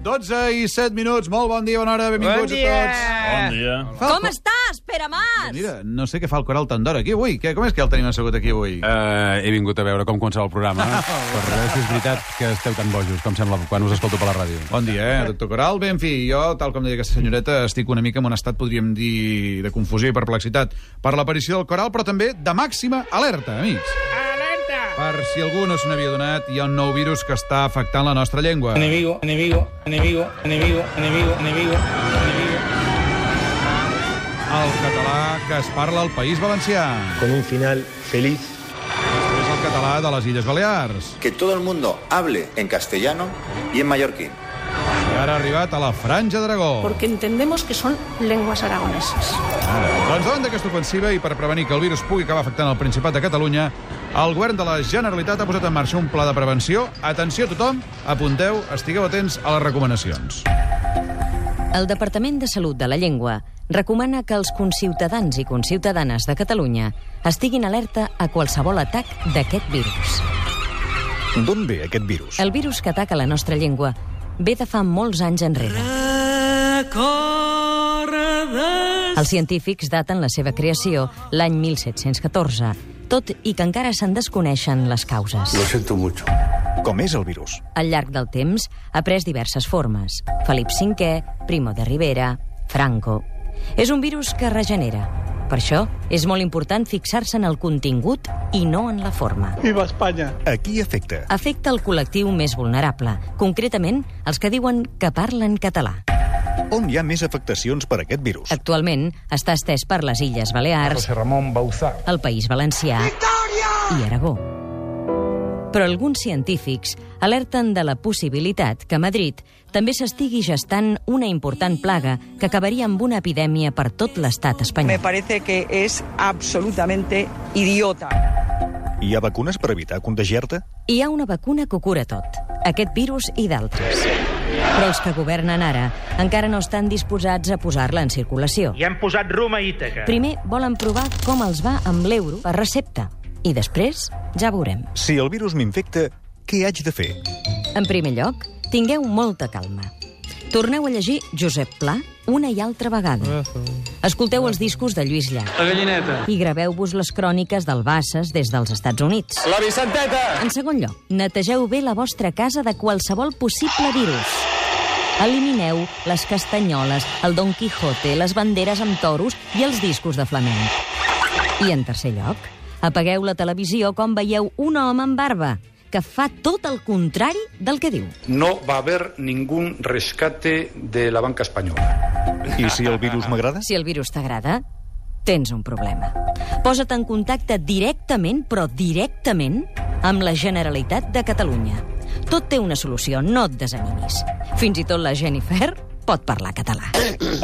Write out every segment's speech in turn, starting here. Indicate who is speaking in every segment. Speaker 1: 12 i 7 minuts. Molt bon dia, bona hora, benvinguts
Speaker 2: Bon dia.
Speaker 1: a tots.
Speaker 3: Bon dia.
Speaker 1: Fa-
Speaker 4: Com estàs, Pere Mas?
Speaker 1: Mira, no sé què fa el coral Tandora aquí avui. Què, com és que el tenim assegut aquí avui?
Speaker 2: Eh.
Speaker 5: Uh, he vingut a veure com començava el programa. per res, és veritat que esteu tan bojos, com sembla, quan us escolto per la ràdio.
Speaker 1: Bon dia, eh, doctor Coral. Bé, en fi, jo, tal com deia aquesta senyoreta, estic una mica en un estat, podríem dir, de confusió i perplexitat per l'aparició del Coral, però també de màxima alerta, amics.
Speaker 2: Alerta.
Speaker 1: Per si algú no se n'havia donat, hi ha un nou virus que està afectant la nostra llengua.
Speaker 6: Enemigo, enemigo, enemigo, enemigo, enemigo, enemigo, enemigo.
Speaker 1: El català que es parla al País Valencià.
Speaker 7: con un final feliz.
Speaker 1: És el català de les Illes Balears.
Speaker 8: que todo el mundo hable en castellano y en mallorquín.
Speaker 1: I ara ha arribat a la Franja d'Aragó.
Speaker 9: porque entendemos que son lenguas aragonesas.
Speaker 1: Doncs davant d'aquesta ofensiva i per prevenir que el virus pugui acabar afectant el Principat de Catalunya, el govern de la Generalitat ha posat en marxa un pla de prevenció. Atenció a tothom, apunteu, estigueu atents a les recomanacions.
Speaker 4: El Departament de Salut de la Llengua recomana que els conciutadans i conciutadanes de Catalunya estiguin alerta a qualsevol atac d'aquest virus.
Speaker 10: D'on ve aquest virus?
Speaker 4: El virus que ataca la nostra llengua ve de fa molts anys enrere. Els científics daten la seva creació l'any 1714, tot i que encara se'n desconeixen les causes.
Speaker 10: Com és el virus?
Speaker 4: al llarg del temps, ha pres diverses formes. Felip V, Primo de Rivera, Franco... És un virus que regenera. Per això, és molt important fixar-se en el contingut i no en la forma.
Speaker 10: A qui afecta?
Speaker 4: Afecta el col·lectiu més vulnerable, concretament els que diuen que parlen català.
Speaker 10: On hi ha més afectacions per aquest virus?
Speaker 4: Actualment està estès per les Illes Balears,
Speaker 6: Ramon Bauzá.
Speaker 4: el País Valencià i Aragó. Però alguns científics alerten de la possibilitat que a Madrid també s'estigui gestant una important plaga que acabaria amb una epidèmia per tot l'estat espanyol.
Speaker 2: parece que es absolutamente idiota.
Speaker 10: Hi ha vacunes per evitar contagiar-te?
Speaker 4: Hi ha una vacuna que ho cura tot, aquest virus i d'altres. Però els que governen ara encara no estan disposats a posar-la en circulació.
Speaker 6: I han posat rum a Ítaca.
Speaker 4: Primer volen provar com els va amb l'euro per recepta. I després ja veurem.
Speaker 10: Si el virus m'infecta, què haig de fer?
Speaker 4: En primer lloc, tingueu molta calma. Torneu a llegir Josep Pla una i altra vegada. Escolteu els discos de Lluís Llach. La gallineta. I graveu-vos les cròniques del Bassas des dels Estats Units.
Speaker 6: La Vicenteta!
Speaker 4: En segon lloc, netegeu bé la vostra casa de qualsevol possible virus. Elimineu les castanyoles, el Don Quijote, les banderes amb toros i els discos de flamenc. I en tercer lloc, apagueu la televisió quan veieu un home amb barba que fa tot el contrari del que diu.
Speaker 7: No va a haber ningún rescate de la banca española.
Speaker 10: I si el virus m'agrada?
Speaker 4: Si el virus t'agrada, tens un problema. Posa't en contacte directament, però directament, amb la Generalitat de Catalunya. Tot té una solució, no et desanimis. Fins i tot la Jennifer pot parlar català.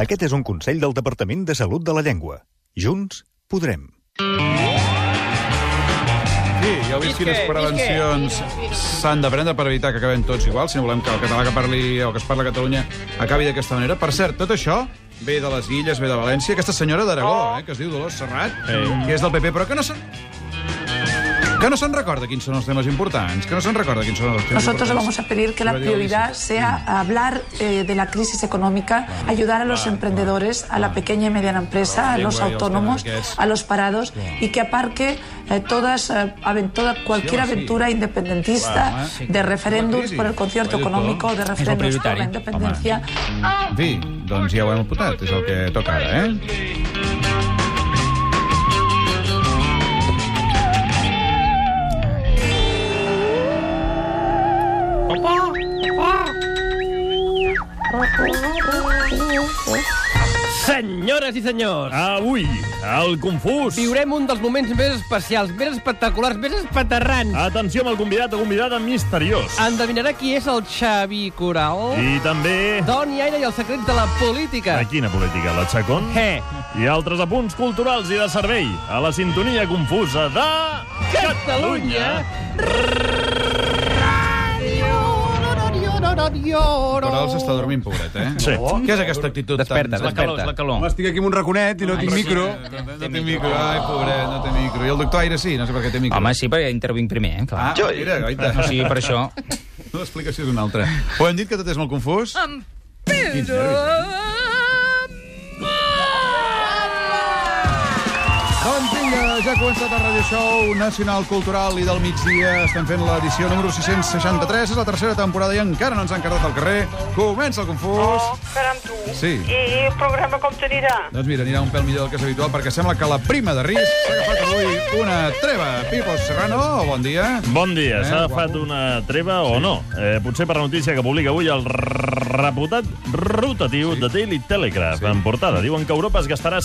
Speaker 10: Aquest és un consell del Departament de Salut de la Llengua. Junts podrem.
Speaker 1: Sí, ja heu vist quines prevencions s'han de prendre per evitar que acabem tots igual, si no volem que el català que parli o que es parla a Catalunya acabi d'aquesta manera. Per cert, tot això ve de les Illes, ve de València. Aquesta senyora d'Aragó, eh, que es diu Dolors Serrat, que és del PP, però que no se'n... Que no se'n recorda quins són els temes importants, que no se'n recorda quins són els temes
Speaker 9: Nosotros
Speaker 1: importants.
Speaker 9: vamos a pedir que la
Speaker 1: Lo digo,
Speaker 9: prioridad
Speaker 1: dice.
Speaker 9: sea hablar eh, de la crisis económica, ayudar a los emprendedores, a la pequeña y mediana empresa,
Speaker 1: Lengua
Speaker 9: a
Speaker 1: y
Speaker 9: los
Speaker 1: los
Speaker 9: autónomos,
Speaker 1: temas que es-
Speaker 9: a los parados y que aparque eh, todas eh, aven- toda- cualquier
Speaker 1: ahora sí.
Speaker 9: aventura
Speaker 1: Claro,
Speaker 9: independentista
Speaker 1: ¿eh?
Speaker 9: de referéndums
Speaker 1: crisis.
Speaker 9: por el concierto
Speaker 1: Oye, todo.
Speaker 9: económico, de referéndums por la
Speaker 2: prioritario.
Speaker 9: independencia.
Speaker 1: En fi, doncs ja ho hem apuntat, és el que toca ara, eh?
Speaker 6: Senyores i senyors,
Speaker 3: Avui, el confús.
Speaker 6: viurem un dels moments més especials, més espectaculars, més espaterrans.
Speaker 3: Atenció amb el convidat o convidada misteriós.
Speaker 6: Endevinarà qui és el Xavi Coral?
Speaker 3: I també...
Speaker 6: Doni aire i els secrets de la política.
Speaker 3: A quina política? La Chacón?
Speaker 6: Eh.
Speaker 3: I altres apunts culturals i de servei a la sintonia confusa de...
Speaker 6: Catalunya. Però
Speaker 1: Però els està dormint, pobret, eh?
Speaker 3: Sí.
Speaker 1: Què és aquesta actitud
Speaker 2: Desperta,
Speaker 1: tan...
Speaker 2: desperta. La calor,
Speaker 1: Estic aquí amb un raconet i no tinc micro. No té micro. Ai, pobret, no té micro. I el doctor Aire sí, no sé per què té micro.
Speaker 2: Home, sí, perquè intervinc primer, eh, clar.
Speaker 1: Ah, mira, goita.
Speaker 2: O sigui, per això...
Speaker 1: L'explicació és una altra. Ho hem dit que tot és molt confús? Quins nervis. Doncs vinga, ja ha començat el Radio Show Nacional Cultural i del migdia. Estem fent l'edició número 663, és la tercera temporada i encara no ens han quedat al carrer. Comença el confús.
Speaker 9: Oh, caram, tu.
Speaker 1: Sí.
Speaker 9: I el programa com t'anirà?
Speaker 1: Doncs mira, anirà un pèl millor del que és habitual, perquè sembla que la prima de risc s'ha agafat avui una treva. Pipo Serrano, bon dia.
Speaker 3: Bon dia.
Speaker 1: Eh,
Speaker 3: S'ha
Speaker 1: guapo.
Speaker 3: agafat una treva o no? Eh, potser per la notícia que publica avui el reputat rotatiu de Daily Telegraph en portada. Diuen que Europa es gastarà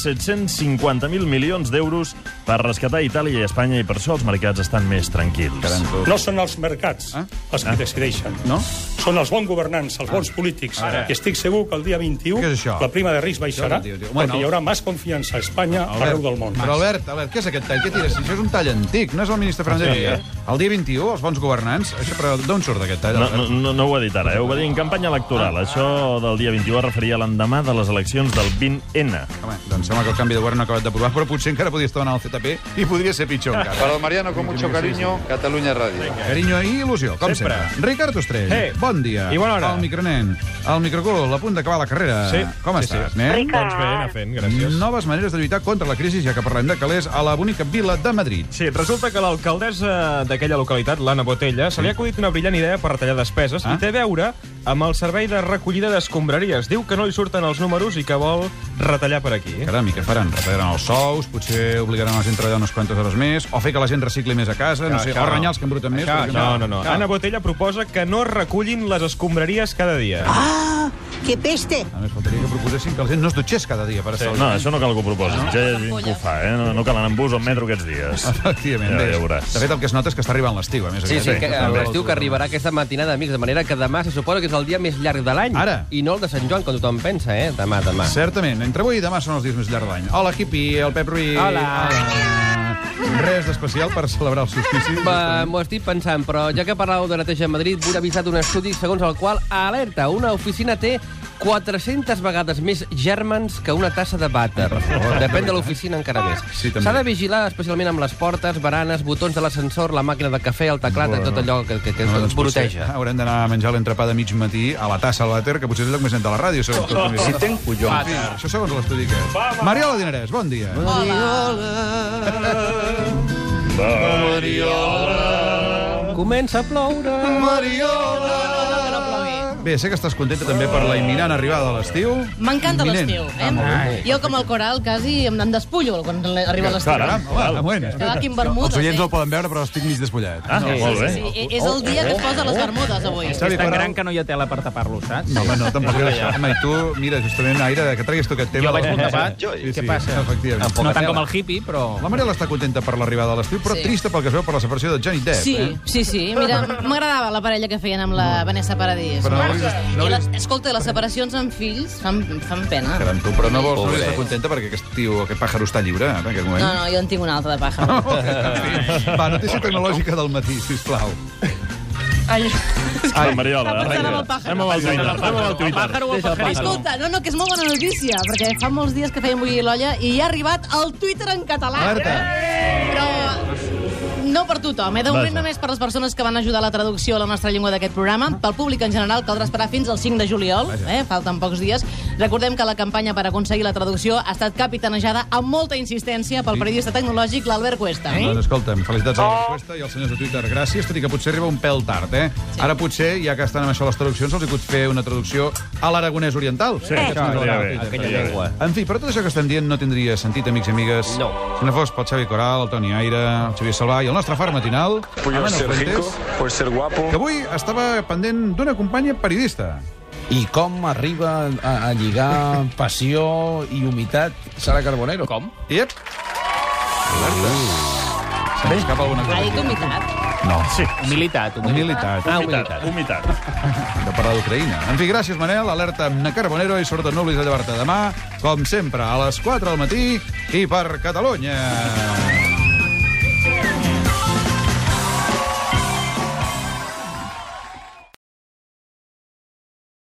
Speaker 3: 750.000 milions d'euros per rescatar Itàlia i Espanya i per això els mercats estan més tranquils. Ah?
Speaker 11: No són els mercats els que decideixen.
Speaker 1: Ah? No? Ah.
Speaker 11: Són els bons governants, els bons polítics.
Speaker 1: Ara.
Speaker 11: I estic segur que el dia 21
Speaker 1: Què és això?
Speaker 11: la prima de risc baixarà
Speaker 1: Això, tio, tio. Home,
Speaker 11: perquè
Speaker 1: no.
Speaker 11: hi haurà més confiança a Espanya arreu del món.
Speaker 1: Però Albert, Albert, què és aquest tall? Què tires? Això és un tall antic, no és el
Speaker 11: Ah,
Speaker 1: ministre Fernández
Speaker 3: Sí,
Speaker 1: Villa. El dia 21, els bons governants... Això, però d'on surt aquest tall?
Speaker 3: No, no, no, no ho ha dit ara, eh? ho va dir en campanya electoral.
Speaker 1: Ah.
Speaker 3: Això del dia 21 es referia a l'endemà de les eleccions del 20N.
Speaker 1: Home, doncs sembla que el canvi de govern no ha acabat d'aprovar, però potser encara podria estar en el CTP i podria ser pitjor encara.
Speaker 10: Para don Ah. Mariano, con mucho cariño, Cataluña Radio.
Speaker 1: Carinyo i il·lusió, com sempre.
Speaker 10: Sempre.
Speaker 1: sempre. Ricard Ostrell,
Speaker 10: Hey.
Speaker 1: bon dia.
Speaker 10: I bona hora.
Speaker 1: El micronen, el microcul, a punt d'acabar la carrera.
Speaker 12: Sí.
Speaker 1: Com
Speaker 12: Sí,
Speaker 1: estàs,
Speaker 12: sí.
Speaker 1: nen?
Speaker 12: Ricard. Doncs bé, anar fent, gràcies.
Speaker 1: Noves maneres de lluitar contra la crisi, ja que parlem de calés, a la bonica vila de Madrid.
Speaker 12: Sí, resulta que l'alcaldessa d'aquella localitat, l'Anna Botella, se li ha acudit una brillant idea per retallar despeses ah? i té a veure amb el servei de recollida d'escombraries. Diu que no li surten els números i que vol retallar per aquí.
Speaker 1: Caram, i què faran? Retallaran els sous, potser obligaran la gent a treballar unes quantes hores més, o fer que la gent recicli més a casa, no,
Speaker 12: Això,
Speaker 1: sé,
Speaker 12: això
Speaker 1: o
Speaker 12: no.
Speaker 1: renyar els que embruten més. Ah,
Speaker 12: Això,
Speaker 1: per
Speaker 12: no,
Speaker 1: exemple.
Speaker 12: no, no.
Speaker 1: Clar.
Speaker 12: Anna Botella proposa que no es recullin les escombraries cada dia.
Speaker 13: ¡Ah! ¡Qué peste!
Speaker 1: A més, faltaria que proposessin que la gent no es dutxés cada dia per
Speaker 3: Sí.
Speaker 1: estalviar.
Speaker 3: No, això no cal que ho proposin. Ja hi ha gent que ho fa, eh? No, no cal anar amb bus o amb metro aquests dies.
Speaker 1: Efectivament,
Speaker 3: Ja,
Speaker 1: bé.
Speaker 3: ja veuràs.
Speaker 1: De fet, el que es nota és que està arribant l'estiu, a més.
Speaker 14: Sí, sí,
Speaker 1: aviat.
Speaker 14: que, eh, l'estiu que arribarà aquesta matinada, amics, de manera que demà se suposa que és el dia més llarg de l'any. Ara. I no el de Sant Joan, com tothom pensa, eh? Demà, demà.
Speaker 1: Certament, entre avui i demà són els dies més llargs de l'any. Hola, Quipi, el Pep Ruiz.
Speaker 14: Hola.
Speaker 1: Res d'especial per celebrar el solstici.
Speaker 14: Va, M'ho estic pensant, però ja que parlàveu de neteja a Madrid, vull avisar d'un estudi segons el qual, alerta, una oficina té 400 vegades més germans que una tassa de vàter. Depèn de l'oficina encara més.
Speaker 1: Sí, també.
Speaker 14: S'ha de vigilar especialment amb les portes, baranes, botons de l'ascensor, la màquina de cafè, el teclat,
Speaker 1: Bueno.
Speaker 14: tot allò que, que, que
Speaker 1: No,
Speaker 14: no,
Speaker 1: doncs potser
Speaker 14: broteja.
Speaker 1: Haurem d'anar a menjar l'entrepà de mig matí a la tassa al vàter, que potser és el lloc més net de la ràdio, segons tot.
Speaker 14: Si tenc collons.
Speaker 1: En fi, Això segons l'estudi que és. Mariola Dinarès, bon dia.
Speaker 14: Mariola. Comença a ploure.
Speaker 4: Mariola.
Speaker 1: Bé, sé que estàs contenta també per la imminent arribada de l'estiu.
Speaker 4: M'encanta
Speaker 1: Imminent.
Speaker 4: l'estiu,
Speaker 1: Ah, molt bé.
Speaker 4: eh? Jo, com el coral, quasi em em despullo quan arriba l'estiu.
Speaker 1: Caram, home, un moment.
Speaker 4: Estava aquí en bermudes,
Speaker 15: Els oients Oh,
Speaker 4: eh?
Speaker 15: no el poden veure, però estic mig despullat.
Speaker 4: Ah, sí, sí, sí, sí. És el dia que es posa les bermudes, avui.
Speaker 1: Xavi,
Speaker 6: és tan
Speaker 1: Coral.
Speaker 6: gran que no hi ha tela per tapar-lo, saps?
Speaker 1: No, home, no, tampoc era això. Home, i tu, mira, justament, Aire, que traguis tu aquest tema.
Speaker 6: Jo vaig molt tapat.
Speaker 1: Sí,
Speaker 6: Què
Speaker 1: sí,
Speaker 6: passa?
Speaker 1: Efectivament.
Speaker 6: No tant com el hippie, però...
Speaker 1: La Mariela està contenta per l'arribada de l'estiu, però
Speaker 4: Sí.
Speaker 1: trista pel que es veu per la separació de Johnny Depp.
Speaker 4: Sí,
Speaker 1: eh?
Speaker 4: sí, sí. Mira, m'agradava la parella que feien amb la Vanessa Paradís.
Speaker 1: Però no
Speaker 4: I
Speaker 1: hauries- no
Speaker 4: la,
Speaker 1: hauries-
Speaker 4: escolta, les separacions amb fills fan, fan pena.
Speaker 1: Caram, tu, però no vols, no
Speaker 4: Pobret.
Speaker 1: hauries d'estar contenta perquè aquest tio, aquest pàjaro està lliure eh, en aquest
Speaker 4: No,
Speaker 1: moment.
Speaker 4: no, jo en tinc una altra de paja.
Speaker 1: Va, notícia tecnològica del matí, sisplau.
Speaker 4: Ai,
Speaker 1: Ai,
Speaker 3: Mariola,
Speaker 4: Estava pensant
Speaker 3: arrenca.
Speaker 4: amb el pàjaro.
Speaker 3: Anem amb el Twitter. Anem amb el Twitter.
Speaker 4: Escolta, no, no, que és molt bona notícia, perquè fa molts dies que fèiem bullir l'olla i ja ha arribat el Twitter en català.
Speaker 1: Marta.
Speaker 4: Però no per tothom, eh? De moment
Speaker 1: Vaja.
Speaker 4: només per les persones que van ajudar a la traducció a la nostra llengua d'aquest programa. Pel públic en general caldrà esperar fins al 5 de juliol, eh? falten pocs dies. Recordem que la campanya per aconseguir la traducció ha estat capitanejada amb molta insistència pel periodista tecnològic l'Albert Cuesta. Eh?
Speaker 1: Doncs escolta'm, felicitats a
Speaker 3: Oh.
Speaker 1: la resposta i als senyors de Twitter. Gràcies, tot i que potser arriba un pèl tard, eh? Sí. Ara potser, ja que estan amb això les traduccions, els hi pot fer una traducció a l'aragonès oriental.
Speaker 3: Sí, això estaria bé, estaria bé.
Speaker 1: En fi, però tot això que estem dient no tindria sentit, amics i amigues, no. si no fos pel Xavi Coral, el Toni Aire, el Xavier Salvà i el nostre far matinal,
Speaker 16: Puedo
Speaker 1: Ameno
Speaker 16: ser
Speaker 1: Fuentes,
Speaker 16: rico, puedo ser guapo.
Speaker 1: que avui estava pendent d'una companya periodista.
Speaker 17: I com arriba a, a lligar passió i humitat Sara Carbonero? Com?
Speaker 1: Iep. Se m'escapa alguna
Speaker 4: Ha
Speaker 1: cosa.
Speaker 4: dit eh? humitat.
Speaker 1: No. Sí.
Speaker 6: Humilitat.
Speaker 1: Humilitat.
Speaker 6: Ah, humilitat.
Speaker 3: Humitat.
Speaker 1: de parlar d'Ucraïna. En fi, gràcies, Manel. Alerta amb na Carbonero i sobretot no oblidis de llevar-te demà, com sempre, a les 4 del matí i per Catalunya.